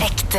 Ekte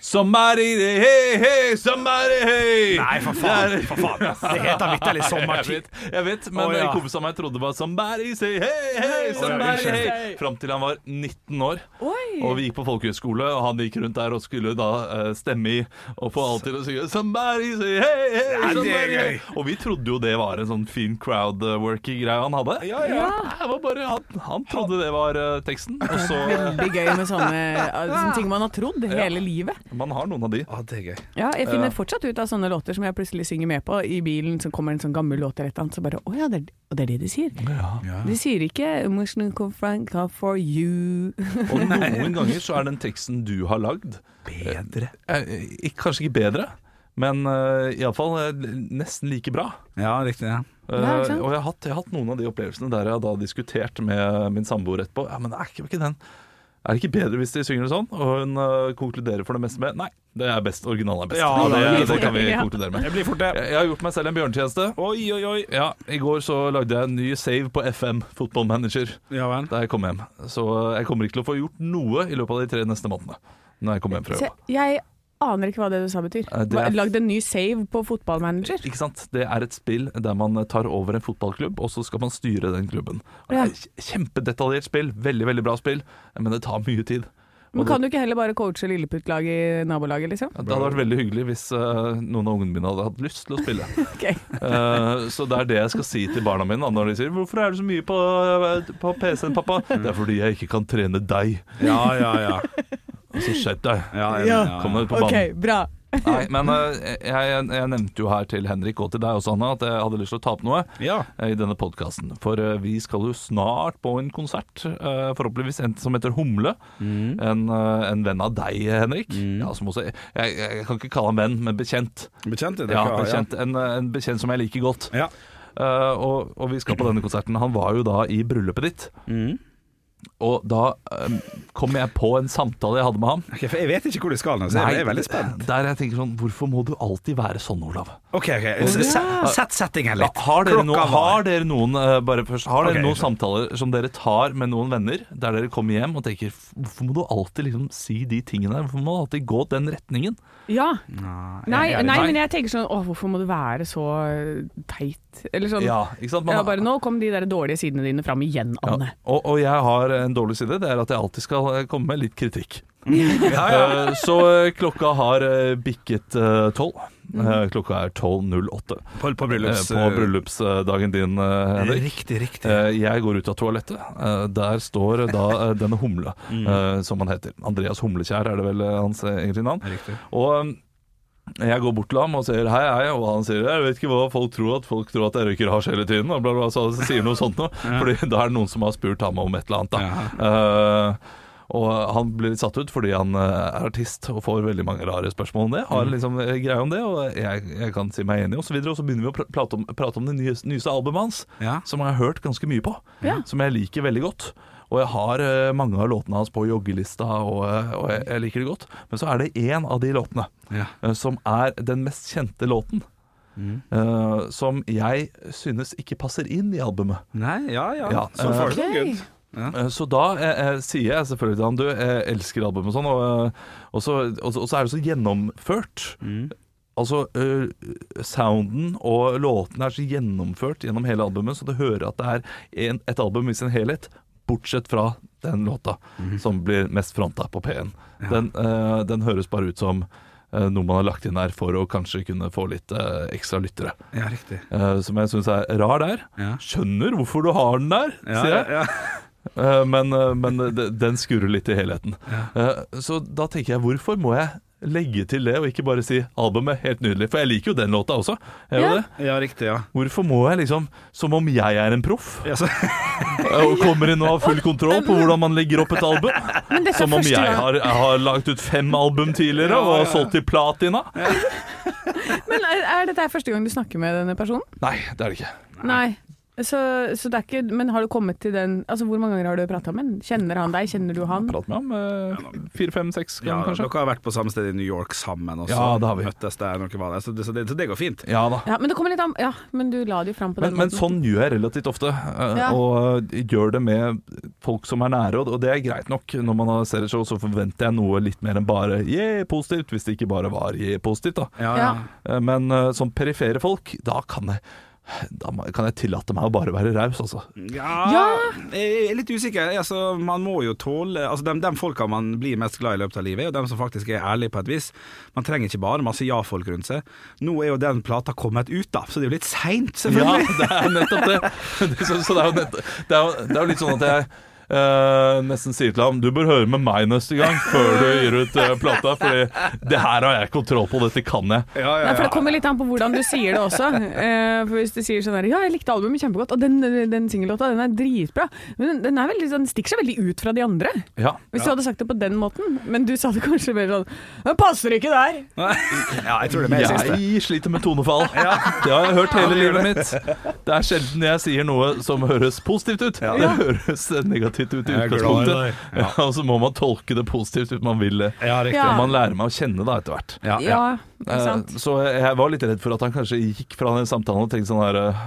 Somebody hey, hey, somebody hey Nei, for faen. For faen. Det heter vitterlig Jeg sommertid. vet, jeg vet men Å, ja. en kompis av meg trodde det var Somebody say hey, hey, somebody unnskyld. hey Fram til han var 19 år Oi. Og vi gikk på folkehøyskole Og han gikk rundt der og skulle da eh, stemme i Og få alle til å synge Somebody say hey, hey, Nei, det er somebody hey gøy. Og vi trodde jo det var en sånn fin crowdworking-greie han hadde Ja, ja. Nei, det var bare, han, han trodde det var eh, teksten Og så, Veldig gøy med sånne, eh, sånne ting man har trodd hele livet. man har noen av de Å, det er gøy. Ja, jeg finner fortsatt ut av sånne låter som jeg plutselig synger med på i bilen. Så kommer en sånn gammel låt eller et eller annet, så bare Å ja, det er, og det er det de sier. De sier ikke 'Emotional Confront for you'. Og noen ganger så er den teksten du har lagd Bedre Kanskje ikke bedre Men uh, i alle fall eh, nesten like bra Ja, riktig. Ja. Eh, Ja, ikke sant? og jeg har, hatt, jeg har hatt noen av de opplevelsene der jeg har da diskutert med min samboer etterpå. Ja, men er ikke, ikke den Er det ikke bedre hvis de synger det sånn? Og hun eh, konkluderer for det meste med Nei, det er best. Originalen er best. Ja, det, det det, blir kan vi Ja. konkludere med. Det blir fort, det. Jeg, jeg har gjort meg selv en bjørnetjeneste. Oi, oi, oi. Ja, I går så lagde jeg en ny save på FM, Football Manager, Ja vel. da jeg kom hjem. Så eh, jeg kommer ikke til å få gjort noe i løpet av de tre neste månedene. Når jeg kommer hjem fra Så jobb. jeg aner ikke hva det du sa betyr. Eh, det er- Lagd en ny save på fotballmanager. Ikke sant? Det er et spill der man tar over en fotballklubb, og så skal man styre den klubben. Og Det Ja. er et Kjempedetaljert spill, veldig veldig bra spill, men det tar mye tid. Og Men kan det, du ikke heller bare coache lilleputtlaget i nabolaget, liksom? det hadde vært veldig hyggelig hvis eh, noen av ungene mine hadde hatt lyst til å spille. Ok. Eh, så det er det jeg skal si til barna mine da, når de sier 'Hvorfor er du så mye på, på PC-en, pappa?' 'Det er fordi jeg ikke kan trene deg.' Ja, ja, ja. Altså, skjerp deg. Ja, Ja. Kom deg ut på banen. Ok, bra. Nei, men eh, jeg, jeg nevnte jo her til Henrik og til deg også, Anna, at jeg hadde lyst til å ta opp noe Ja. eh, i denne podkasten. For eh, vi skal jo snart på en konsert, eh, forhåpentligvis en som heter Humle. Mm. En, eh, en venn av deg, Henrik. Ja, som også, jeg, jeg kan ikke kalle han venn, men bekjent. Bekjent er det. Ja, ikke? bekjent en, eh, en bekjent som jeg liker godt. Ja. Eh, og, og vi skal på denne konserten. Han var jo da i bryllupet ditt. Og da eh, kom jeg på en samtale jeg hadde med ham. Ok, for jeg vet ikke hvor du skal nå, så jeg er veldig spent. Der jeg tenker sånn Hvorfor må du alltid være sånn, Olav? Ok, ok. S- s- Sett settingen Ja, litt. har, dere noen, Klokka var- har dere noen eh, Bare først Har dere Ok, noen så- samtaler som dere tar med noen venner, der dere kommer hjem og tenker "F- Hvorfor må du alltid liksom si de tingene? her? Hvorfor må du alltid gå den retningen? Ja. Nei, jeg- nei, nei. men jeg tenker sånn Å, hvorfor må du være så teit? Eller sånn. Ja, ikke sant? Man- Ja, bare nå kom de der dårlige sidene dine fram igjen, Ja, Anne. og, og jeg har en dårlig side. Det er at jeg alltid skal eh, komme med litt kritikk. Eh, Så eh, klokka har eh, bikket tolv. Eh, Klokka er 12.08 Mm. eh, På, på bryllups... på bryllupsdagen din, eh, Henrik. Riktig, riktig. Eh, Jeg går ut av toalettet. Eh, Der står da eh, denne Humle, eh, som han heter. Andreas Humlekjær er det vel eh, hans eh, egentlige navn. Riktig. Og eh, jeg går bort til ham og sier hei, hei, og han sier jeg vet ikke hva folk tror at folk tror at jeg røyker hasj hele tiden, og bla, bla, så han sier noe sånt noe. Fordi da er det noen som har spurt ham om et eller annet, da. Eh, og han blir litt satt ut fordi han eh, er artist og får veldig mange rare spørsmål om det. Har liksom eh, greie om det, og jeg, jeg kan si meg enig, og så videre. Og så begynner vi å pr- prate om, prate om det nye, nyeste albumet hans, Ja. som jeg har hørt ganske mye på. Ja. Som jeg liker veldig godt. Og jeg har eh, mange av låtene hans på joggelista, og, eh, og jeg, jeg liker det godt. Men så er det én av de låtene Ja. eh, som er den mest kjente låten. eh, som jeg synes ikke passer inn i albumet. Nei, ja, ja. Ja, Så far, ok. så good. Eh, Så da eh, eh, sier jeg selvfølgelig til han Du, jeg elsker albumet og sånn og, eh, og, så, og, så, og så er det så gjennomført Mm. Altså, eh, sounden og låtene er så gjennomført Gjennom hele albumet Så du hører at det er en, et album i sin helhet Bortsett fra den låta Mm. Som blir mest fronta på P1 den, eh, den høres bare ut som eh, noe man har lagt inn her for å kanskje kunne få litt eh, ekstra lyttere Ja, riktig. Eh, Som jeg synes er rar der Ja. Skjønner hvorfor du har den der Ja, Sier jeg ja. Eh, Men, eh, men de- den skurrer litt i helheten. Eh, Så da tenker jeg, hvorfor må jeg legge til det, og ikke bare si albumet helt nydelig? For jeg liker jo den låta også. Jeg gjør Ja. det. ja, riktig, ja. Hvorfor må jeg liksom, som om jeg er en proff, ja så, eh, og kommer inn og har full kontroll på hvordan man legger opp et album? Men dette Som om er første jeg gang. har, jeg har lagt ut fem album tidligere og har solgt til platina? Men er, er dette her første gang du snakker med denne personen? Nei, det er det ikke. Nei. Så, så det er ikke Men har du kommet til den Altså, hvor mange ganger har du prata med han? Kjenner han deg? Kjenner du han? Prat med ham eh, fire-fem-seks Ja, ganger, kanskje. Dere har vært på samme sted i New York sammen også. Ja, det har vi. Møttes der, når dere var der. Så, det, så, det, så det går fint. Ja da. Ja, men det kommer litt an Ja, men du la det jo fram på den Men, men måten. sånn gjør jeg relativt ofte, eh, Ja. og gjør det med folk som er nære, og- og det er greit nok. Når man har- ser et show, så forventer jeg noe litt mer enn bare yeah, positivt, hvis det ikke bare var yeah, positivt, da. Ja, Ja. Eh, Men eh, som perifere folk, da kan jeg da må- kan jeg tillate meg å bare være raus, altså. Ja, Ja. Jeg er litt usikker. Altså, man må jo tåle altså, de, de folka man blir mest glad i i løpet av livet, er jo dem som faktisk er ærlige på et vis. Man trenger ikke bare masse ja-folk rundt seg. Nå er jo den plata kommet ut, da, så det er jo litt seint, Ja, selvfølgelig. det er nettopp det. Det- Så, så det, er jo nett, det, er jo, det er jo litt sånn at jeg eh, nesten sier til ham Du bør høre med meg neste gang før du gir ut eh, plata, Fordi det her har jeg kontroll på, dette kan jeg. Ja, Nei, for Det kommer litt an på hvordan du sier det også. Eh, for Hvis du sier sånn her Ja, jeg likte albumet kjempegodt, og den, den singellåta den er dritbra. Men den- den er veldig, sånn, stikker seg veldig ut fra de andre. Ja. Hvis du hadde sagt det på den måten. Men du sa det kanskje mer sånn Den passer ikke der! ja, jeg tror det er mer siste. Jeg sliter med tonefall. Det har jeg hørt hele livet mitt. Det er sjelden jeg sier noe som høres positivt ut. Det høres negativt ut i Jeg er glad i deg. utgangspunktet. Ja, og så må man tolke det positivt hvis man vil det. Ja, riktig. Ja. Man lærer meg å kjenne da etter hvert. Ja, ja. Ja, ikke Eh, sant. Så jeg var litt redd for at han kanskje gikk fra den samtalen og tenkte sånn her eh,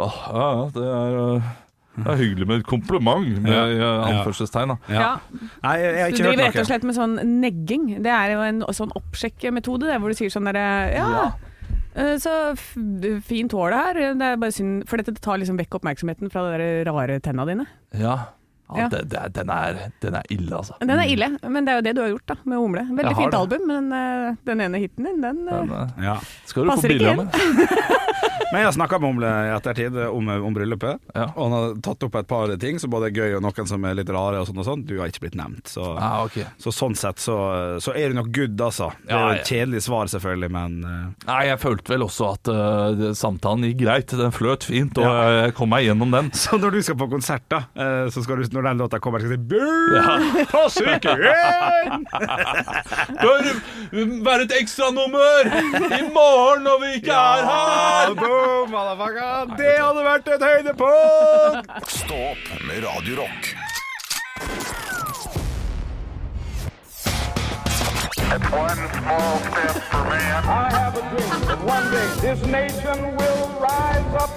Åh, ja, ja, det er, eh, det er hyggelig med et kompliment, med eh, anførselstegn. da. Ja. Ja. Nei, jeg, jeg har Du ikke driver hørt rett og noe. slett med sånn negging. Det er jo en sånn oppsjekkemetode, det, hvor du sier sånn derre Ja. eh, Så f- fint hår det her. Det er bare synd, for dette tar liksom vekk oppmerksomheten fra de der rare tenna dine. Ja. Ja. Ja, det, det, er- den, er, den er ille, altså. Den Mm. er ille, men det er jo det du har gjort da, med Humle. Veldig Jeg har fint det. album, men eh, den ene hiten din, den eh, Den, eh, Ja. skal du Passer få ikke bilde av inn. meg? Men jeg har snakka med Omle i ettertid om, om bryllupet, Ja. og han har tatt opp et par ting som både er gøy og noen som er litt rare. og sånn og sånn. Du har ikke blitt nevnt. Så, Ah, ok. så sånn sett så, så er du nok good, altså. Det Ja, er ja. jo et kjedelig svar, selvfølgelig, men eh, Nei, jeg følte vel også at eh, det- samtalen gikk greit. Den fløt fint, og jeg kom meg gjennom den. Så når du skal på konsert, da, eh, så skal du, når den låta kommer, skal du si «Boo!» Ja. Passer ikke inn! Bør være et ekstranummer i morgen når vi ikke er Ah, boom, motherfucker. Det hadde vært et høydepunkt! Stå opp med Radio Rock. One small step for man. I have a dream that one day this nation will rise up.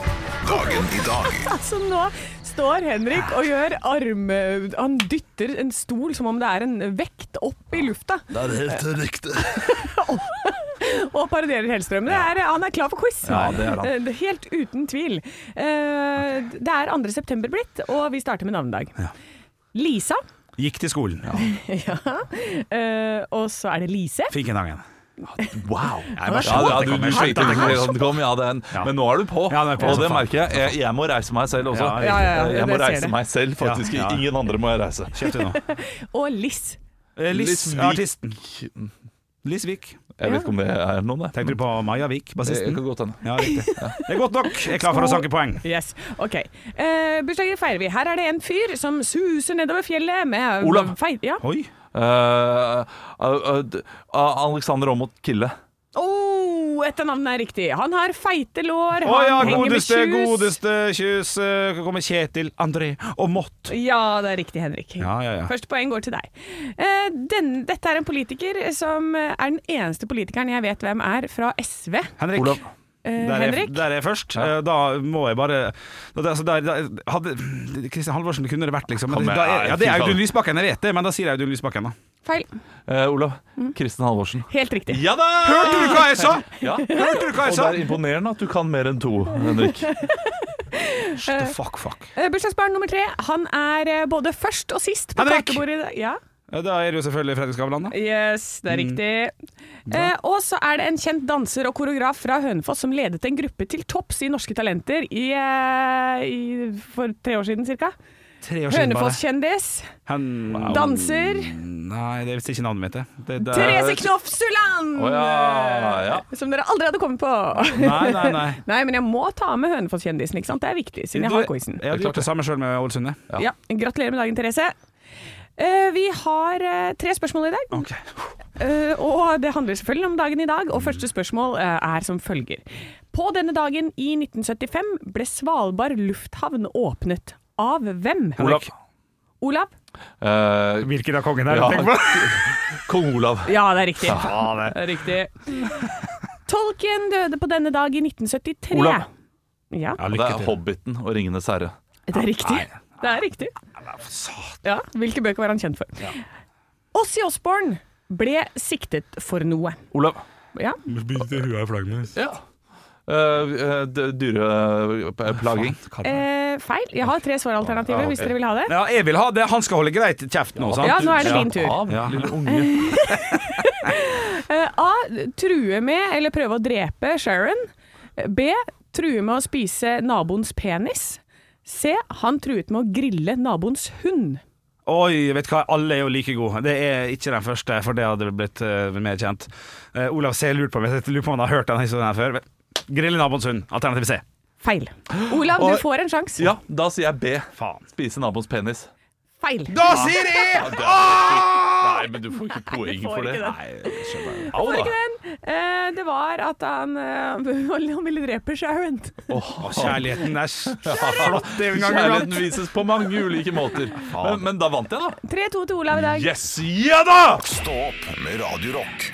Dagen i dag Altså, nå står Henrik og gjør arm... Han dytter en stol som om det er en vekt opp i lufta, Det er helt riktig. og parodierer Hellstrøm. Det er, han er klar for quiz. Ja, det er han. Eh, det- Helt uten tvil. Eh, Det er 2. september blitt, og vi starter med navnedag. Lisa. Gikk til skolen. Ja. Eh, og så er det Lise. Fikk en dag igjen. Wow. Jeg Ja, var så- ja, du, du sliter Jeg skjønte at det kom. ikke at den kom, ja, den. Ja. Men nå er du på, Ja, nå er jeg på, og så det faen. merker jeg. jeg. Jeg må reise meg selv også. Eh, Ja, Ja, ja, ja, jeg må det ser reise det. meg selv, faktisk. Ja, ja. Ingen andre må jeg reise. Kjeft du nå. Og Liss. Eh, Liss, Liss Vik. artisten. Liss Vik. Jeg vet ikke om det er noen, det. Tenkte du på Maja Vik, Jeg bassisten? kan godt hende. Ja, riktig. Det er godt nok. Jeg er klar for å sanke poeng. Yes, ok. Eh, bursdager feirer vi. Her er det en fyr som suser nedover fjellet med Olav. Feil, ja. Oi. Eh, eh, eh, d- Alexander Aamodt Kille. Oh, et av navnene er riktig. Han har feite lår, Å ja, han henger godeste, med kjus. godeste kjus. eh, Kommer Kjetil, André og Mott. Ja, det er riktig, Henrik. Ja, ja, ja. Første poeng går til deg. Eh, den, dette er en politiker som er den eneste politikeren jeg vet hvem er, fra SV. Henrik. Olav. Eh, Der er, Henrik? der er jeg først. Eh, Da må jeg bare da, altså, der, da, hadde, Kristian Halvorsen kunne det vært, liksom. Men, Han er- da, er- ja, det fy er faen. Audun Lysbakken, jeg vet det, men da sier jeg Audun Lysbakken, da. Feil. Eh, Olav. Kristin Halvorsen. Helt riktig. Ja da! Hørte du hva jeg sa?! Ja. Hørte du hva Og jeg det sa?! er imponerende at du kan mer enn to, Henrik. Shit, fuck, fuck. Eh, bursdagsbarn nummer tre. Han er eh, både først og sist på Henrik! kakebordet. i dag. Ja. Ja, Da er det jo selvfølgelig Fredrik Skavlan, da. Yes, det er Mm. riktig. Eh, og så er det en kjent danser og koreograf fra Hønefoss som ledet en gruppe til topps i Norske Talenter i, eh, i, for tre år siden ca. Tre år siden bare. Hønefoss-kjendis, Han danser Nei, det visste ikke navnet mitt, det. det, det Therese Knofsuland! Å ja, ja. Som dere aldri hadde kommet på. Nei, nei, nei. Nei, men jeg må ta med Hønefoss-kjendisen, ikke sant? Det er viktig, siden jeg har quizen. Jeg hadde gjort det samme sjøl med Ålesund, jeg. Ja. Gratulerer med dagen, Therese. Eh, vi har eh, tre spørsmål i dag. Ok. Eh, og det handler selvfølgelig om dagen i dag, og første spørsmål eh, er som følger. På denne dagen i 1975 ble Svalbard lufthavn åpnet. Av hvem? Olav. Olav? Eh, Hvilken av kongen er det? Ja. Tenk på. Kong Olav. Ja, det er riktig. Riktig. Tolkien døde på denne dag i 1973. Olav. Ja, Ja, Det er Hobbiten og Ringenes herre. det er riktig. Det er riktig. Ja, hvilke bøker var han kjent for? Ossie Osborne ble siktet for noe. Olav. Ja, Bytte huet i flaggermus. Ja. Eh, Dyreplaging. eh, feil. Jeg har tre svaralternativer hvis dere vil ha det. Ja, jeg vil ha det. Han skal holde greit kjeft nå, sant? Ja, nå er det din tur. Av, Ja. lille unge. Eh, A. True med eller prøve å drepe Sharon. B. True med å spise naboens penis. C. Han truet med å grille naboens hund. Oi, vet du hva, alle er jo like gode. Det er ikke den første, for det hadde blitt eh, mer kjent. Eh, Olav C. lurte på om jeg lurer på om han har hørt denne historien her før. Grille naboens hund. Alternativ C. Feil. Olav, Og- du får en sjanse. Ja, da sier jeg B. Faen. Spise naboens penis. Feil. Da sier jeg! Nei, men du får ikke poeng du får for det. ikke det. Nei, Au, Var da. ikke den? Eh, det var at han, eh, han ville drepe Sharon. Å, Kjærligheten er s- flott en gang Kjærligheten iblant. vises på mange ulike måter. Men, men da vant jeg, da. 3-2 til Olav i dag. Yes, ja da! Stå opp med Radio Rock.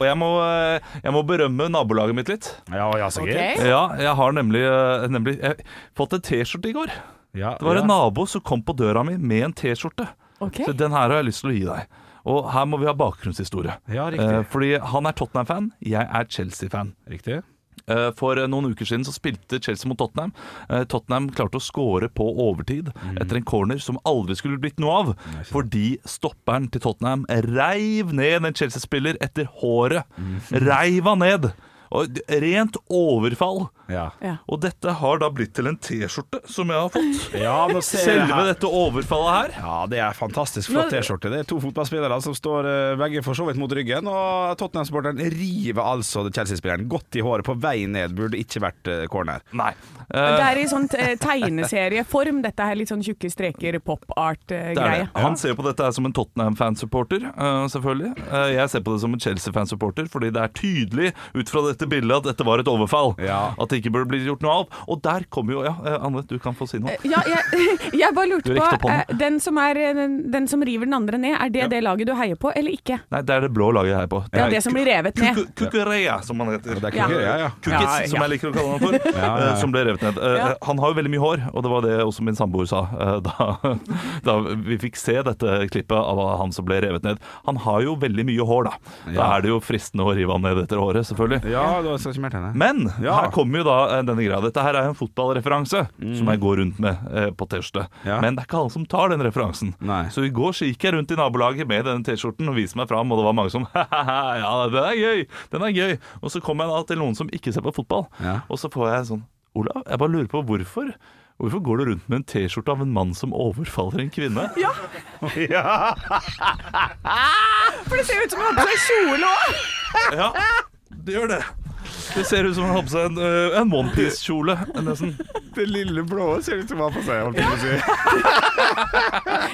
Og jeg må, eh, jeg må berømme nabolaget mitt litt. Ja, ja, så gøy. Ok. Ja, jeg har nemlig, eh, nemlig jeg, fått en T-skjorte i går. Ja, Det var ja. en nabo som kom på døra mi med en T-skjorte. Ok. Så den her har jeg lyst til å gi deg. Og her må vi ha bakgrunnshistorie. Ja, riktig. Eh, fordi han er Tottenham-fan, jeg er Chelsea-fan. Riktig. Eh, For eh, noen uker siden så spilte Chelsea mot Tottenham. Eh, Tottenham klarte å score på overtid Mhm. etter en corner som aldri skulle blitt noe av, fordi stopperen til Tottenham reiv ned en Chelsea-spiller etter håret. Mhm. Reiv han ned! Og d- rent overfall. Ja. Ja. Og dette har da blitt til en T-skjorte som jeg har fått. ja, nå ser jeg Selve her. dette overfallet her. Ja, det er fantastisk flott T-skjorte. Det er to fotballspillere som står eh, begge for så vidt mot ryggen, og Tottenham-sporteren river altså Chelsea-spilleren godt i håret på vei ned. Burde ikke vært eh, corner. Nei. Det Eh, er i sånn eh, tegneserieform, dette her. Litt sånn tjukke streker, det er pop-art-greie. det. Han ser på dette her som en Tottenham-fansupporter, eh, selvfølgelig. Eh, jeg ser på det som en Chelsea-fansupporter, fordi det er tydelig ut fra dette bildet at dette var et overfall. Ja. At det ikke burde bli gjort noe av. Og der kommer jo Ja, eh, Anne, du kan få si noe. Ja, jeg, jeg bare lurte Du rekte opp på hånden. eh, den, som er, eh, den, den som river den andre ned, er det det laget du heier på, eller ikke? Nei, det er det blå laget jeg er på. Det er det som blir revet ned. Kuku- Kukureya, som han heter. Og det er Ja. ikke, ja. Ja, Kukis, Ja, ja. som jeg liker å kalle han for. Ja, ja, ja. eh, Som ble revet ned. Eh, Ja. Han har jo veldig mye hår, og det var det også min samboer sa eh, da, da vi fikk se dette klippet av han som ble revet ned. Han har jo veldig mye hår, da. Da Ja. er det jo fristende å rive han ned etter håret, selvfølgelig. ja da skal jeg ikke mer til det. Men Ja. her kommer jo da eh, denne greia. Dette her er jo en fotballreferanse som jeg går rundt med eh, på T-skjorte. Mm. Ja. Men det er ikke alle som tar den referansen. Nei. Så i går så gikk jeg rundt i nabolaget med denne T-skjorten og viste meg fram, og det var mange som Ja, den er gøy! Den er gøy! Og så kom jeg da til noen som ikke ser på fotball, Ja. og så får jeg sånn Olav, jeg bare lurer på hvorfor. Hvorfor går du rundt med en T-skjorte av en mann som overfaller en kvinne? Ja, Ja. for det ser jo ut som han har på seg kjole òg! Ja, det gjør det. Det ser ut som han har på seg en, øh, en onepiece-kjole. nesten. Det lille blå ser ut som han har på seg. holdt jeg på å si.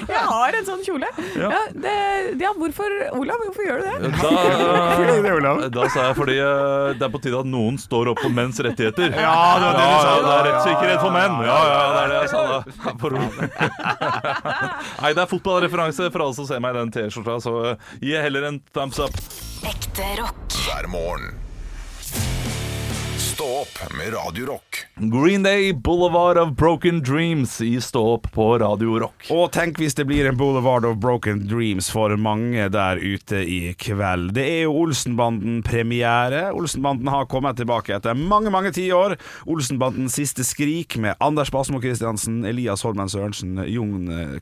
Jeg har en sånn kjole. Ja. Ja. det, ja, hvorfor Olav, hvorfor gjør du det? Da, Fordi det, Olav. øh, da sa jeg fordi øh, det er på tide at noen står opp for menns rettigheter. Ja, det var det du sa. Ja, det er rettssikkerhet for menn. Ja, ja, det er det jeg sa da. Ja, for- Nei, det er fotballreferanse for alle som ser meg i den T-skjorta, så øh, gi heller en thumbs up. Ekte rock. hver morgen. Stå opp med Radio Rock. Green Day, Boulevard of Broken Dreams i Stå opp på Radio Rock. Og tenk hvis det blir en Boulevard of Broken Dreams for mange der ute i kveld. Det er jo Olsenbanden-premiere. Olsenbanden har kommet tilbake etter mange, mange tiår. Olsenbandens siste skrik med Anders Basmo Christiansen, Elias Holmen Sørensen, Jon eh,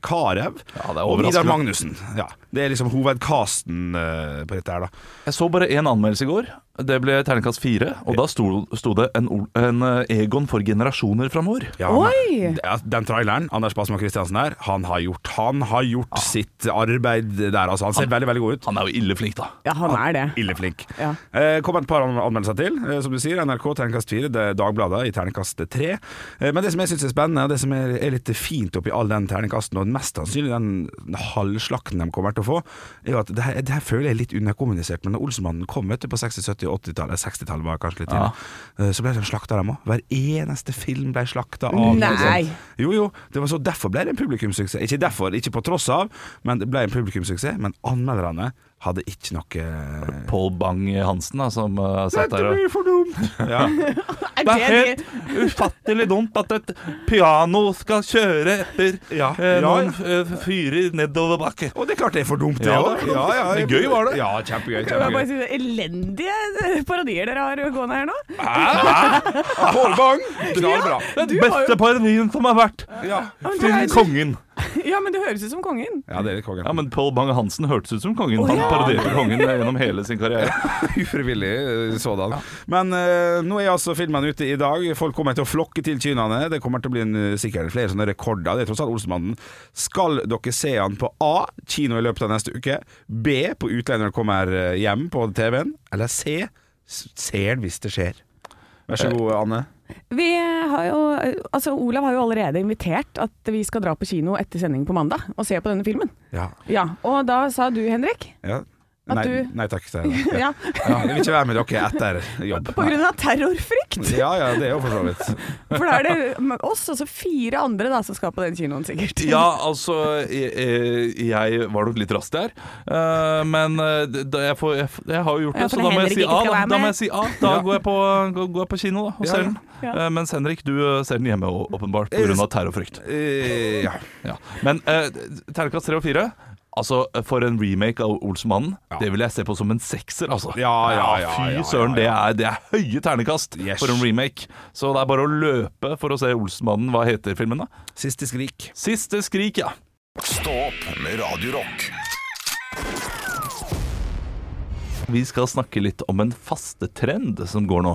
Ja, Carew det er og Vidar overraskende. Magnussen. Ja, det er liksom hovedcasten eh, på dette her, da. Jeg så bare én anmeldelse i går. Det ble terningkast fire, og da sto, sto det en en, Ol- en eh, Egon for generasjoner framover. Ja, Oi! men- Ja, Den traileren, Anders Basmo Christiansen her, han har gjort, han har gjort sitt arbeid der. Altså, han ser veldig, veldig god ut. Ah. Han er jo ille flink, da. Ja, han er det. Illeflink. Ja. Eh, kom et par an- anmeldelser til. Eh, som du sier, NRK terningkast 4, det er Dagbladet i terningkast 3. Eh, men det som jeg syns er spennende, og det som er, er litt fint oppi all den terningkasten, og mest sannsynlig den halvslakten de kommer til å få, er jo at det her, det her føler jeg er litt underkommunisert. Men da Olsmannen kom vet du, på 60-, 70- og 80-tallet, 60-tallet var kanskje litt tidlig, eh, så ble de slakta, dem òg. Hver eneste film ble slakta av liksom. Nei. jo, jo, det var så derfor ble det en publikumssuksess. Ikke derfor, ikke på tross av, men det ble en publikumssuksess. Men anmelderne hadde ikke noe Pål Bang-Hansen, da, som eh, satt der og for dumt! Ja. Er Det er det, helt ufattelig dumt at et piano skal kjøre etter Ja, eh, ja. noen eh, fyrer nedover bakke. Og det er klart det er for dumt, det Ja, òg. det er for dumt. Men gøy var det. Ja, kjempegøy. det var bare kjempegøy. si det elendige parodier dere har gående her nå. Pål Bang, knall bra. Den Du har jo- beste parodien som har vært! Ja. men du er- Til kongen. Ja, men det høres ut som kongen. ja, det er litt kongen. Ja, men Pål Bang-Hansen hørtes ut som kongen. Han ja. parodierte kongen eh, gjennom hele sin karriere. Ufrivillig eh, sådan. Men eh, nå er altså filmen ute i dag. Folk kommer til å flokke til kinoene. Det kommer til å bli en, eh, sikkert flere sånne rekorder. Det er tross alt Olsenmannen. Skal dere se han på A, kino i løpet av neste uke, B, på utlendinger kommer eh, hjem på TV-en, eller C, s- ser den hvis det skjer. Vær så god, Anne. Vi har jo, altså Olav har jo allerede invitert at vi skal dra på kino etter sending på mandag og se på denne filmen. Ja. Ja, Og da sa du, Henrik, ja. At Nei, du- nei takk. sier jeg da. Ja. ja, Ja, jeg vil ikke være med dere etter jobb. på grunn av terrorfrykt. Ja ja, det er jo for så vidt. For da er det oss og så fire andre da som skal på den kinoen, sikkert. Ja, altså Jeg, eh, jeg var nok litt rask der. Eh, men eh, da jeg, får, jeg, jeg har jo gjort det, Ja, så for da må jeg Henrik si ikke A. skal Da, være da må med. jeg si A. Da går, jeg på, går, går jeg på kino da, og Ja, ser den. ja. Eh, mens Henrik, du eh, ser den hjemme å- åpenbart pga. terrorfrykt. Eh, ja. Ja. Men eh, terningkast tre og fire Altså, For en remake av Olsenmannen. Det vil jeg se på som en sekser, altså. Ja, ja, ja, Fy ja, ja, søren, det ja. er, det er høye ternekast Yes. for en remake. Så det er bare å løpe for å se Olsenmannen. Hva heter filmen, da? Siste skrik. Siste skrik, ja. Stå opp med Radio Rock. Vi skal snakke litt om en fastetrend som går nå.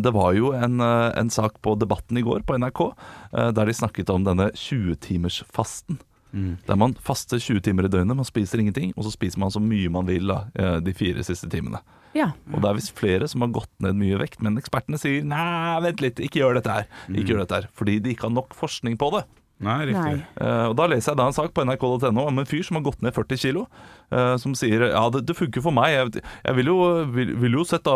Det var jo en, eh, en sak på Debatten i går på NRK eh, der de snakket om denne 20-timersfasten. Der man faster 20 timer i døgnet, man spiser ingenting, og så spiser man så mye man vil da, eh, de fire siste timene. Ja. Og det er visst flere som har gått ned mye vekt, men ekspertene sier nei, vent litt, ikke gjør dette her. Ikke gjør dette her, Fordi de ikke har nok forskning på det. Nei, riktig. Nei. Eh, og Da leser jeg da en sak på nrk.no om en fyr som har gått ned 40 kilo, eh, som sier ja, det, det funker for meg. Jeg, jeg vil jo, vil, vil jo sette,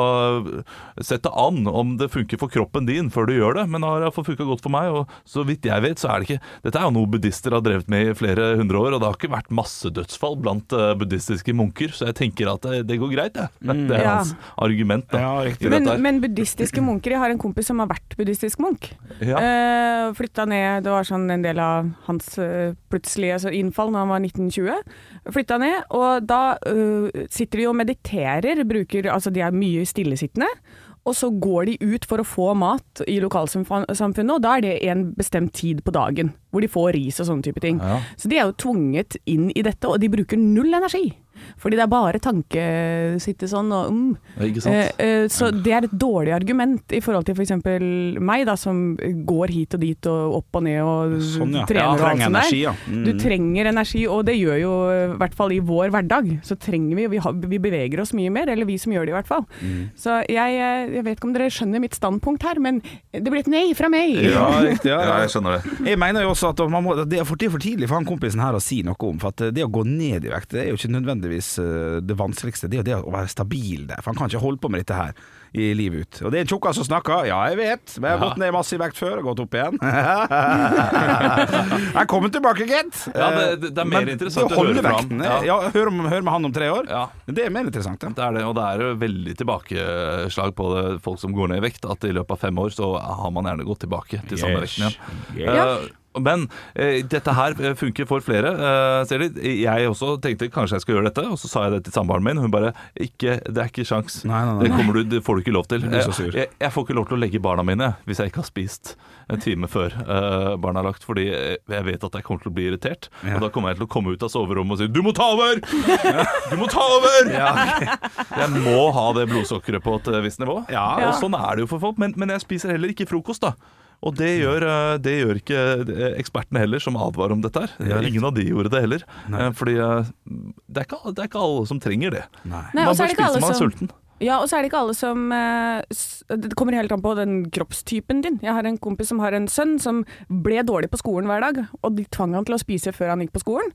sette an om det funker for kroppen din før du gjør det, men det har iallfall funka godt for meg. Og så vidt jeg vet, så er det ikke Dette er jo noe buddhister har drevet med i flere hundre år, og det har ikke vært masse dødsfall blant eh, buddhistiske munker, så jeg tenker at eh, det, det går greit, jeg. Det, det er Mm, Ja. hans argument. Da, Ja, riktig. i Men, dette her. men buddhistiske munker Jeg har en kompis som har vært buddhistisk munk. Ja. Eh, flytta ned Det var sånn en del av hans eh, plutselige altså innfall da han var 1920. Flytta ned, og da eh, sitter de og mediterer. Bruker, altså de er mye stillesittende. Og så går de ut for å få mat i lokalsamfunnet, og da er det en bestemt tid på dagen hvor de får ris og sånne type ting. Ja. Så de er jo tvunget inn i dette, og de bruker null energi. Fordi det er bare tanke sitte sånn og mm. Ja, ikke sant? Eh, eh, så det er et dårlig argument i forhold til f.eks. eksempel meg, da, som går hit og dit og opp og ned og Sånn, ja. trener Ja, og alt trenger sånt der. energi, ja. Mm. Du trenger energi, og det gjør jo eh, i hvert fall i vår hverdag. Så trenger vi, og vi, har, vi beveger oss mye mer, eller vi som gjør det i hvert fall. Mm. Så jeg, eh, jeg vet ikke om dere skjønner mitt standpunkt her, men det blir et nei fra meg. Ja, riktig. Ja, ja. skjønner det. Jeg mener jo også at man må, det er for, det er for tidlig for han kompisen her å si noe om. For at det å gå ned i vekt Det er jo ikke nødvendigvis eh, det vanskeligste. Det er jo det å være stabil der. For han kan ikke holde på med dette her i livet ut. Og det er en tjukkas som snakker. Ja, jeg vet. Men jeg har gått ned masse i vekt før og gått opp igjen. jeg kommer tilbake, gitt. Ja, det- det- det er mer Men interessant det å høre holde fra ham. vekten, Ja. Ja, hør, om, hør med han om tre år. Ja. Det er mer interessant, ja. Det er det, og det er jo veldig tilbakeslag på det, folk som går ned i vekt. At i løpet av fem år så har man gjerne gått tilbake til samme Yes. vekten igjen. Yes. Eh, Men eh, dette her eh, funker for flere. Eh, ser de. Jeg også tenkte kanskje jeg skulle gjøre dette, og så sa jeg det til samboeren min. Hun bare ikke, 'Det er ikke sjans'. Nei, nei, nei. Det, kommer du, det får du ikke lov til. blir så sur. Eh, jeg, jeg får ikke lov til å legge barna mine hvis jeg ikke har spist en time før eh, barna er lagt, fordi eh, jeg vet at jeg kommer til å bli irritert. Ja. Og da kommer jeg til å komme ut av soverommet og si 'du må ta over'! Du må ta over! Jeg må ha det blodsukkeret på et eh, visst nivå. Ja. Og sånn er det jo for folk. Men, men jeg spiser heller ikke frokost, da. Og Mm. det gjør, eh, det gjør ikke eh, ekspertene heller, som advarer om dette her. Ja, riktig. Ingen av de gjorde det heller. Eh, Fordi eh, det er, ikke, alle- det er ikke alle som trenger det. Nei. Nei, man og så er bør spise det ikke når alle man er som sulten. Ja, og så er det ikke alle som eh, s- Det kommer helt an på den kroppstypen din. Jeg har en kompis som har en sønn som ble dårlig på skolen hver dag, og de tvang han til å spise før han gikk på skolen.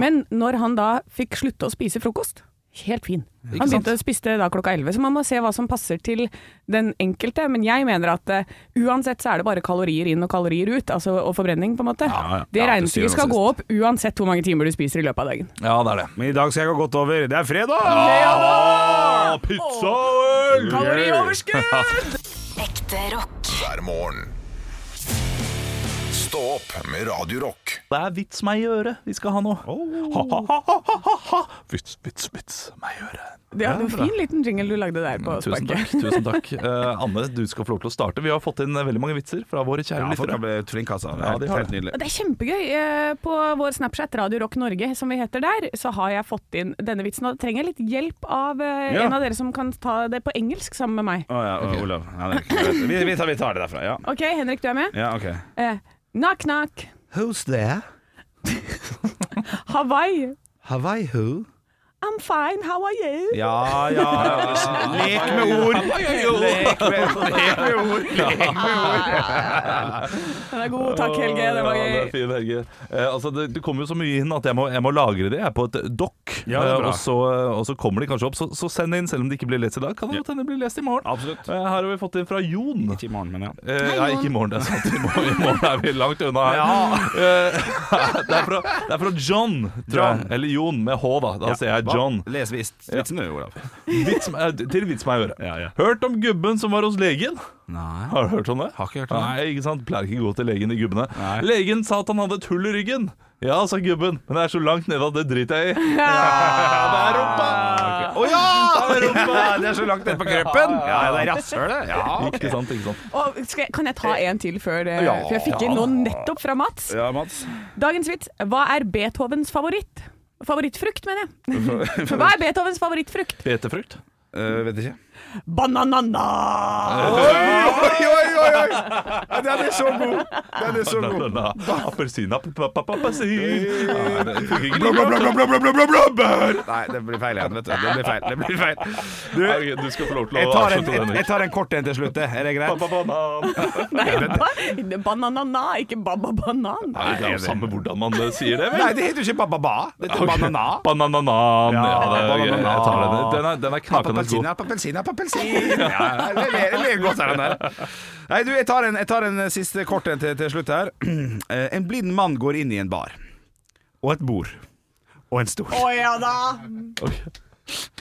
Men når han da fikk slutte å spise frokost Helt fin. Han begynte å spise da klokka elleve, så man må se hva som passer til den enkelte. Men jeg mener at eh, uansett så er det bare kalorier inn og kalorier ut, altså, og forbrenning, på en måte. Ja, ja. Ja, Det det sier regnestykket skal noe gå opp uansett hvor mange timer du spiser i løpet av dagen. Ja, det er det. Men i dag skal jeg gå godt over. Det er fredag! Ah, pizza og øl! Kalorioverskudd! Ekte rock. hver morgen. Stå opp med Radio Rock. Det er vits meg i øret vi skal ha nå. Ha-ha-ha-ha-ha! Vits, vits, vits meg i øret. Det var en fin liten jingle du lagde der på Mm, Tusen sparket. takk. tusen takk Eh, Anne, du skal få lov til å starte. Vi har fått inn eh, veldig mange vitser fra våre kjære Ja, folk har lyttere. blitt flinke, altså. Ja, de Helt, har helt det. nydelig. Det er kjempegøy. Eh, På vår Snapchat, Radio Rock Norge, som vi heter der, så har jeg fått inn denne vitsen. Og da trenger jeg litt hjelp av eh, Ja. en av dere som kan ta det på engelsk sammen med meg. Å ja, å, Olav. Ja, det er greit. vi, vi, tar, vi tar det derfra. Ja, OK, Henrik, du er med? ja ok. Eh, knock, knock. Who's there? Hawaii. Have I who? I'm fine, how are you? Ja, ja, Lek med ord! Lek med, lek med ord. Lek med ord. Den er god. Takk, Helge. Det var Ja, det er gøy. fin, Helge. Eh, altså, det, det kommer jo så mye inn at jeg må, jeg må lagre det. Jeg er på et dokk, Ja, det er Eh, bra. og, så, og så kommer de kanskje opp. Så, så send inn, selv om de ikke blir lest i dag. Kan det godt hende de blir lest i morgen. Absolutt. Eh, her har vi fått inn fra Jon. Ikke i morgen, men ja. Eh, nei, ikke i morgen. Det er sant. I morgen, I morgen er vi langt unna her. Eh, det, er fra, det er fra John, tror John. jeg. Eller Jon, med H, da. Da ser jeg Hva? John. Les visst vitsen, du, Olav. Vits, eh, til vits meg i øret. Ja, ja. Hørt om gubben som var hos legen? Nei. Har du hørt om det? Har ikke hørt om det. Nei, ikke sant? Pleier ikke gå til legen, de gubbene. Nei. Legen sa at han hadde et hull i ryggen. Ja, sa gubben, men det er så langt nede at det driter jeg i. det er rumpa! Å ja! Det er, rumpa. det er så langt ned på kroppen. Ja, det er rasshølet. Ja, Ah, ok. Ikke sant, ikke sant. Og skal jeg, kan jeg ta en til før det? Ja. For jeg fikk inn noen nettopp fra Mats. Ja, Mats. Dagens vits. Hva er Beethovens favoritt? Favorittfrukt, mener jeg. Hva er Beethovens favorittfrukt? Betefrukt? Eh, vet ikke. Bananana! Oi, oi, oi! oi. Ja, Den er så god! Den er så god. Appelsin, appelsin Nei, det funker ikke. Nei, det blir feil igjen, vet du. Det blir feil. Det blir feil. Du, Ja, ok, Du skal få lov til jeg å tar, en, avslutte jeg, den. jeg tar en kort en til slutt, jeg. er det greit? Ba-ba-banan. Nei, ba- bananana, ikke baba-banan. Nei, det er jo samme hvordan man eh, sier det, vel? Nei, det heter jo ikke bababa. Det heter banana. Bananan. Ja, Ja, det er, greit. bananan. jeg tar den. Den er, den er knakende Appelsin, god. appelsin, appelsin. Ja, det ler- det ler godt av den der. Nei, du, jeg tar en, jeg tar en eh, siste kort en til, til slutt her. Eh, En blind mann går inn i en bar. Og et bord. Og en stol. Å ja da!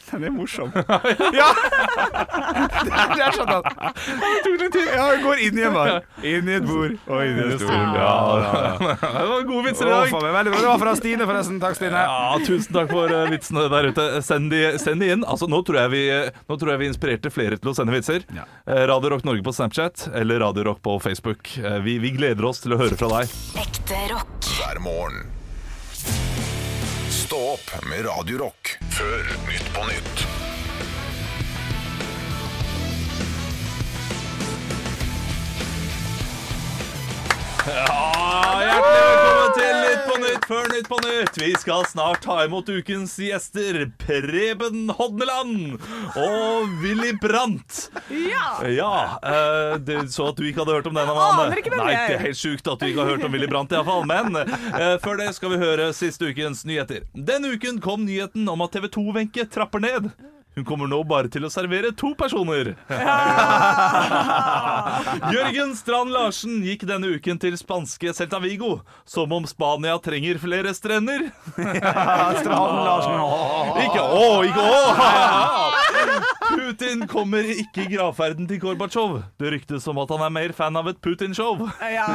Den er morsom. Ja! Der, der satt han. Det tok litt tid. Ja, han går inn i en bar. Inn i et bord og inn i en stol. Ja, ja, ja. Det var gode vitser i Å, dag. faen meg, veldig bra. Det var fra Stine, forresten. Takk, Stine. Ja, tusen takk for eh, vitsene der ute. Send de, send de inn. Altså, nå, tror jeg vi, eh, nå tror jeg vi inspirerte flere til å sende vitser. Ja. Eh, Radio Rock Norge på Snapchat eller Radio Rock på Facebook. Eh, Vi, vi gleder oss til å høre fra deg. Ekte rock. hver morgen. Stå opp med Radio Rock før Nytt på nytt. Ja, hjertelig velkommen til Nytt på Nytt før Nytt på Nytt. Vi skal snart ta imot ukens gjester Preben Hodneland og Willy Brandt. Ja! Ja, eh, det, så at du ikke hadde hørt om den av Aner ikke hvem Nei, det er. det er helt sjukt at du ikke har hørt om Willy Brandt i hvert fall Men eh, før det skal vi høre siste ukens nyheter Denne uken kom nyheten om at TV 2-venke trapper ned hun kommer nå bare til å servere to personer. Jørgen Strand Larsen gikk denne uken til spanske Celta Vigo, som om Spania trenger flere strender. Strand Larsen. Ikke å, ikke å! Putin kommer ikke i gravferden til Gorbatsjov. Det ryktes om at han er mer fan av et Putin-show. ja.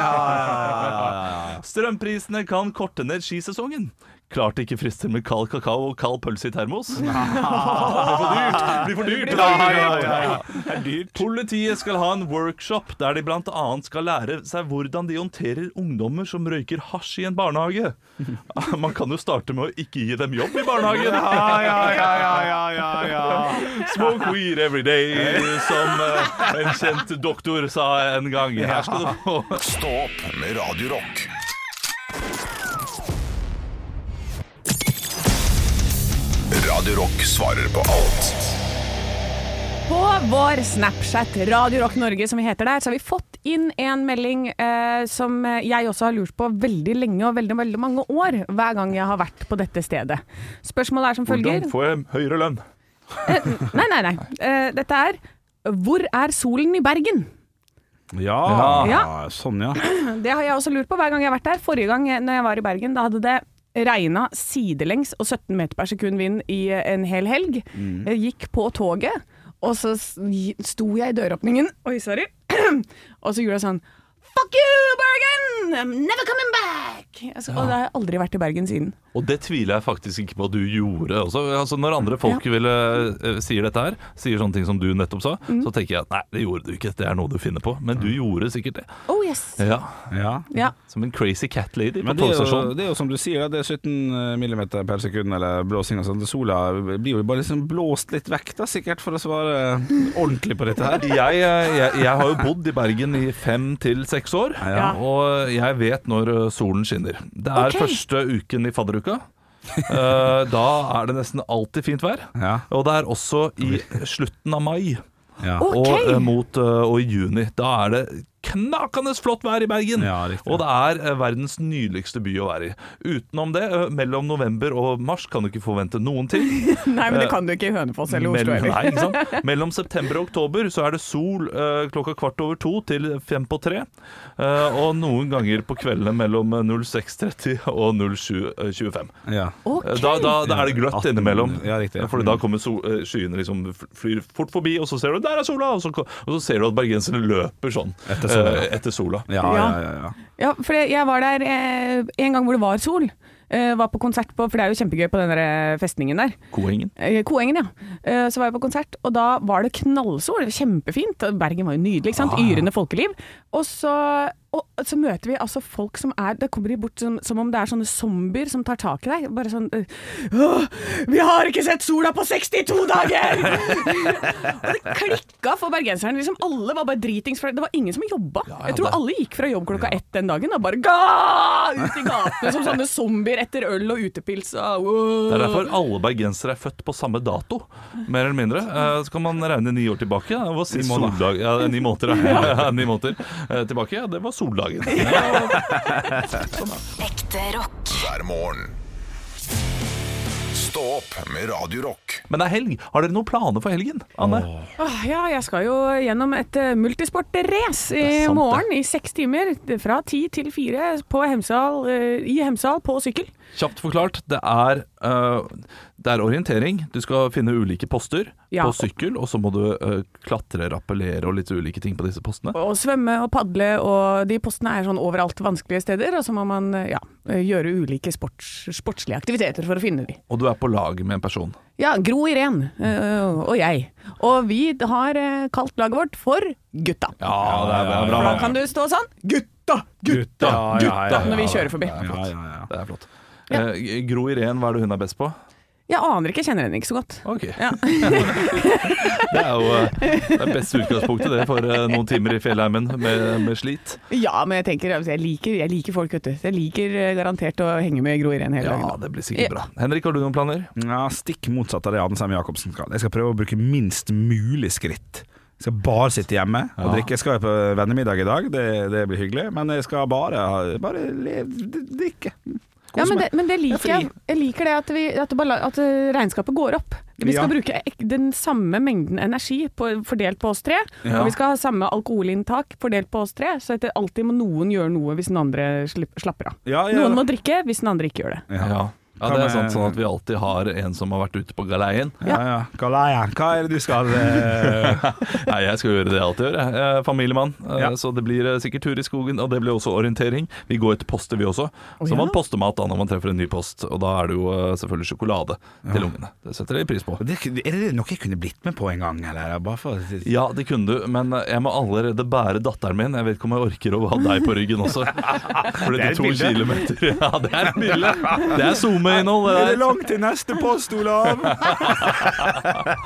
Strømprisene kan korte ned skisesongen. Klart det ikke frister med kald kakao og kald pølse i termos. Det blir for dyrt! Det blir for dyrt! Det er dyrt. Politiet skal ha en workshop der de bl.a. skal lære seg hvordan de håndterer ungdommer som røyker hasj i en barnehage. Man kan jo starte med å ikke gi dem jobb i barnehagen. Smoke weed every day, som eh, en kjent doktor sa en gang. Her skal du få Stå opp med Radio Rock. Radio Rock svarer på alt. På vår Snapchat, Radio Rock Norge som vi heter der, så har vi fått inn en melding eh, som jeg også har lurt på veldig lenge og veldig, veldig mange år, hver gang jeg har vært på dette stedet. Spørsmålet er som følger Hvordan får jeg høyere lønn? Nei, nei, nei. Eh, dette er Hvor er solen i Bergen? Ja, Ja. sånn ja. Det har jeg også lurt på hver gang jeg har vært der. Forrige gang jeg- når jeg var i Bergen, da hadde det regna sidelengs og 17 meter per sekund vind i eh, en hel helg. Mm. Jeg gikk på toget, og så s- gi- sto jeg i døråpningen Oi, sorry. og så gjorde jeg sånn Fuck you, Bergen! I'm never coming back! Altså, Og da har jeg aldri vært i Bergen siden. Og det tviler jeg faktisk ikke på at du gjorde. Også. Altså, når andre folk ville, eh, sier dette her, sier sånne ting som du nettopp sa, så tenker jeg at nei, det gjorde du ikke, det er noe du finner på. Men du gjorde sikkert det. Oh yes. Mm. Ja, ja. Ja. Som en crazy cat lady på Men det er, jo, togstasjonen. det er jo som du sier, det er 17 millimeter per sekund eller blåsing og sånn. Sola blir jo bare liksom blåst litt vekk, da, sikkert, for å svare ordentlig på dette her. Jeg, eh, jeg, jeg har jo bodd i Bergen i fem til seks år, Ja. og jeg vet når eh, solen skinner. Det er Ok. første uken i fadderuka. Eh, da er det nesten alltid fint vær. Ja. Og det er også i slutten av mai. Ja. Ok. og, eh, mot, eh, og i juni. Da er det knakende flott vær i Bergen! Ja, riktig. og det er eh, verdens nydeligste by å være i. Utenom det, eh, mellom november og mars kan du ikke forvente noen ting. Nei, men det kan du ikke i Hønefoss eller Oslo Mellom, eh, nei, heller. ikke sant? Mellom september og oktober så er det sol eh, klokka kvart over to til fem på tre. Eh, og noen ganger på kveldene mellom eh, 06.30 og 07.25. Ja. Ok. Eh, Da, da, da er det gløtt 18, innimellom. ja, riktig, Mm. ja. Fordi da kommer sol, eh, skyene liksom f- flyr fort forbi, og så ser du der er sola! Og så, ko- og så ser du at bergenserne løper sånn Etter sola, eh, etter sola. Ja, ja, ja, ja. Ja, for det- jeg var der eh, en gang hvor det var sol. Eh, var på konsert på, for det er jo kjempegøy på den der eh, festningen der. Koengen. Eh, Koengen, ja. Eh, så var jeg på konsert, og da var det knallsol. Kjempefint. og Bergen var jo nydelig, ikke Ah. sant. Yrende folkeliv. Og så, og, så møter vi altså folk som er Da kommer de bort som, som om det er sånne zombier som tar tak i deg. Bare sånn eh, Åh, Vi har ikke sett sola på 62 dager! og det klikka for bergenseren. Liksom alle var bare dritings. for Det var ingen som jobba. ja, jeg tror det- alle gikk fra jobb klokka ett den dagen og bare ga ut i gatene som sånne zombier etter øl og utepils. Og, Det er derfor alle bergensere er født på samme dato, mer eller mindre. Eh, Så kan man regne ni år tilbake. Det var sist måneder. soldag ja, Ni måneder, ja. ja ni måneder eh, tilbake. Ja, det var soldagen. Ekte rock. Hver morgen. Stå opp med Radio Rock. Men det er helg. Har dere noen planer for helgen, Anne? Åh, ja, jeg skal jo gjennom et eh, multisportrace Det i er sant, det. morgen i seks timer. Fra ti til fire på Hemsedal, eh, i Hemsedal på sykkel. Kjapt forklart, det er, øh, det er orientering. Du skal finne ulike poster Ja. på sykkel, og så må du øh, klatre, rappellere og litt ulike ting på disse postene. Og svømme og padle, og de postene er sånn overalt vanskelige steder. Og så må man eh, ja, eh, gjøre ulike sports, sportslige aktiviteter for å finne de. Og du er på lag med en person. Ja, Gro Irén eh, og jeg. Og vi har eh, kalt laget vårt for Gutta. Ja, det er, bra, For da kan du stå sånn Gutta! Gutta! Ja, ja, ja, ja, Når vi ja. kjører forbi. Ja, ja, ja. Det er flott. Eh, Gro Irén, hva er det hun er best på? Jeg aner ikke, jeg kjenner henne ikke så godt. Ok, Ja. Det er jo eh, det beste utgangspunktet det for eh, noen timer i fjellheimen med, med slit. Ja, men jeg tenker altså, jeg liker, jeg liker folk, vet du. Jeg liker eh, garantert å henge med Gro Irén hele Ja, dagen. det blir sikkert bra. Henrik, har du noen planer? Ja, stikk motsatt av det Anne Sem Jacobsen skal. Jeg skal prøve å bruke minst mulig skritt. Jeg skal bare sitte hjemme og drikke. Jeg skal jo på vennemiddag i dag, det, det blir hyggelig. Men jeg skal bare, bare le, drikke. Kose Ja, men meg. det, men det Jeg er liker fri. jeg. Jeg liker det at, vi, at, det balla- at eh, regnskapet går opp. Vi skal Ja. bruke ek- den samme mengden energi på, fordelt på oss tre, Ja. og vi skal ha samme alkoholinntak fordelt på oss tre, så at det alltid må noen gjøre noe hvis den andre slipp- slapper av. Ja, ja. Noen må drikke hvis den andre ikke gjør det. Ja. Ja, Hva det er med- sant, sånn at vi alltid har en som har vært ute på galeien. Ja, ja. Galaya, hva er det du skal eh, Nei, jeg skal gjøre det jeg alltid gjør, jeg. jeg. er Familiemann. Eh, Ja. Så det blir eh, sikkert tur i skogen, og det blir også orientering. Vi går etter poster, vi også. Så ja. man poster mat da når man treffer en ny post, og da er det jo eh, selvfølgelig sjokolade til ungene. Det setter de pris på. det, Er det noe jeg kunne blitt med på en gang, eller? Bare for å Ja, det kunne du, men jeg må allerede bære datteren min. Jeg vet ikke om jeg orker å ha deg på ryggen også. For Det er de et to bilde. kilometer Ja, det er et bilde. Det er SoMe-innhold, det Er det der. langt til neste post, Olav?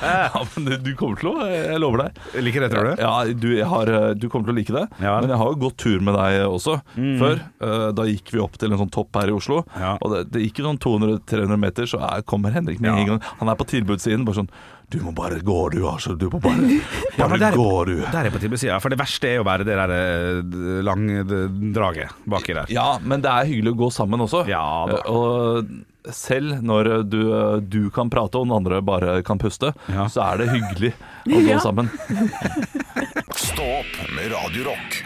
Ja, men du- du kommer til å Jeg lover deg. Liker det, tror du? Ja, du, jeg har, du kommer til å like det, Ja. Mm. men jeg har jo gått tur med deg også før. Eh, Da gikk vi opp til en sånn topp her i Oslo, Ja. og det, det gikk jo sånn 200-300 meter, så er, kommer Henrik med Ja. en gang. Han er på tilbudssiden, bare sånn Du må bare gå, du, altså. Du må bare, Ja, bare men der, gå, du. der er jeg på tilbudssida, for det verste er jo bare det der eh, d- lange d- draget baki der. Ja, men det er hyggelig å gå sammen også. Ja da. Eh, Og selv når du, eh, du kan prate og den andre bare kan puste, Ja. så er det hyggelig å gå Ja. sammen. Stå opp med Radio Rock.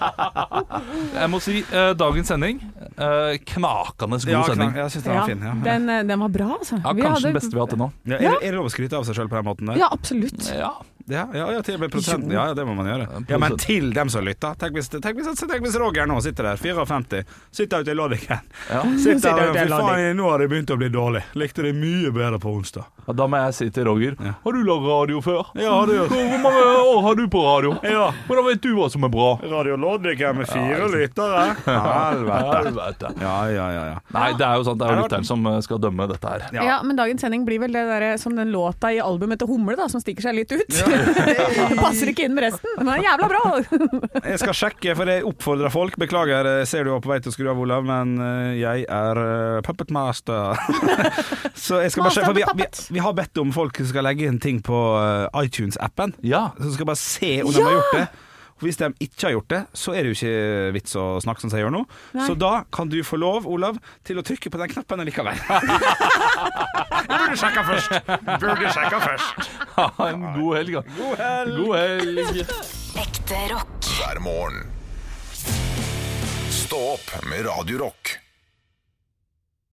Jeg må si eh, dagens sending eh, knakende god Ja, sending. knak- jeg syns den Ja, var fin. Ja. den, eh, den var bra, altså. Ja, Vi kanskje hadde- den beste vi har hatt til nå. Ja, er, det- er det lov å skryte av seg sjøl på den måten der? Ja, absolutt. Ja. Ja, ja, ja, til og med prosent. Ja, ja, det må man gjøre. Ja, Men til dem som lytter. Tenk hvis, tenk hvis, tenk hvis Roger nå sitter der, 54, sitter ute i loddiken. Ja. Sitter Sitter der, ute i Fy loddiken. faen, nå har det begynt å bli dårlig. Likte det mye bedre på onsdag. Og Da må jeg si til Roger Har du laget radio før? Ja, har du gjort. Hvor hvor mange år har du på radio? Ja. Hvordan vet du hva som er bra? Radio Loddiken med fire lyttere. Helvete. Helvete. Ja, ja, ja. ja. Nei, det er jo sant, det er jo lytteren som eh, skal dømme dette her. Ja. men dagens sending blir vel det der, eh, som den låta i albumet til Humle, da, som stikker seg litt ut. Passer ikke inn med resten, men er jævla bra! Jeg skal sjekke, for jeg oppfordrer folk. Beklager, jeg ser du var på vei til å skru av, Olav, men eh, jeg er eh, puppet master. så jeg skal bare Master sjekke, for vi, of the vi, puppet. vi har bedt om folk som skal legge inn ting på eh, iTunes-appen. Ja. Så skal jeg bare se om de har gjort det. Og hvis de ikke har gjort det, så er det jo ikke eh, vits å snakke som jeg gjør nå. Nei. Så da kan du få lov, Olav, til å trykke på den knappen likevel. jeg burde sjekka først. Burde sjekka først. Ha en god helg, da. God helg. God helg. Ekte rock. hver morgen. Stå opp med Radio Rock.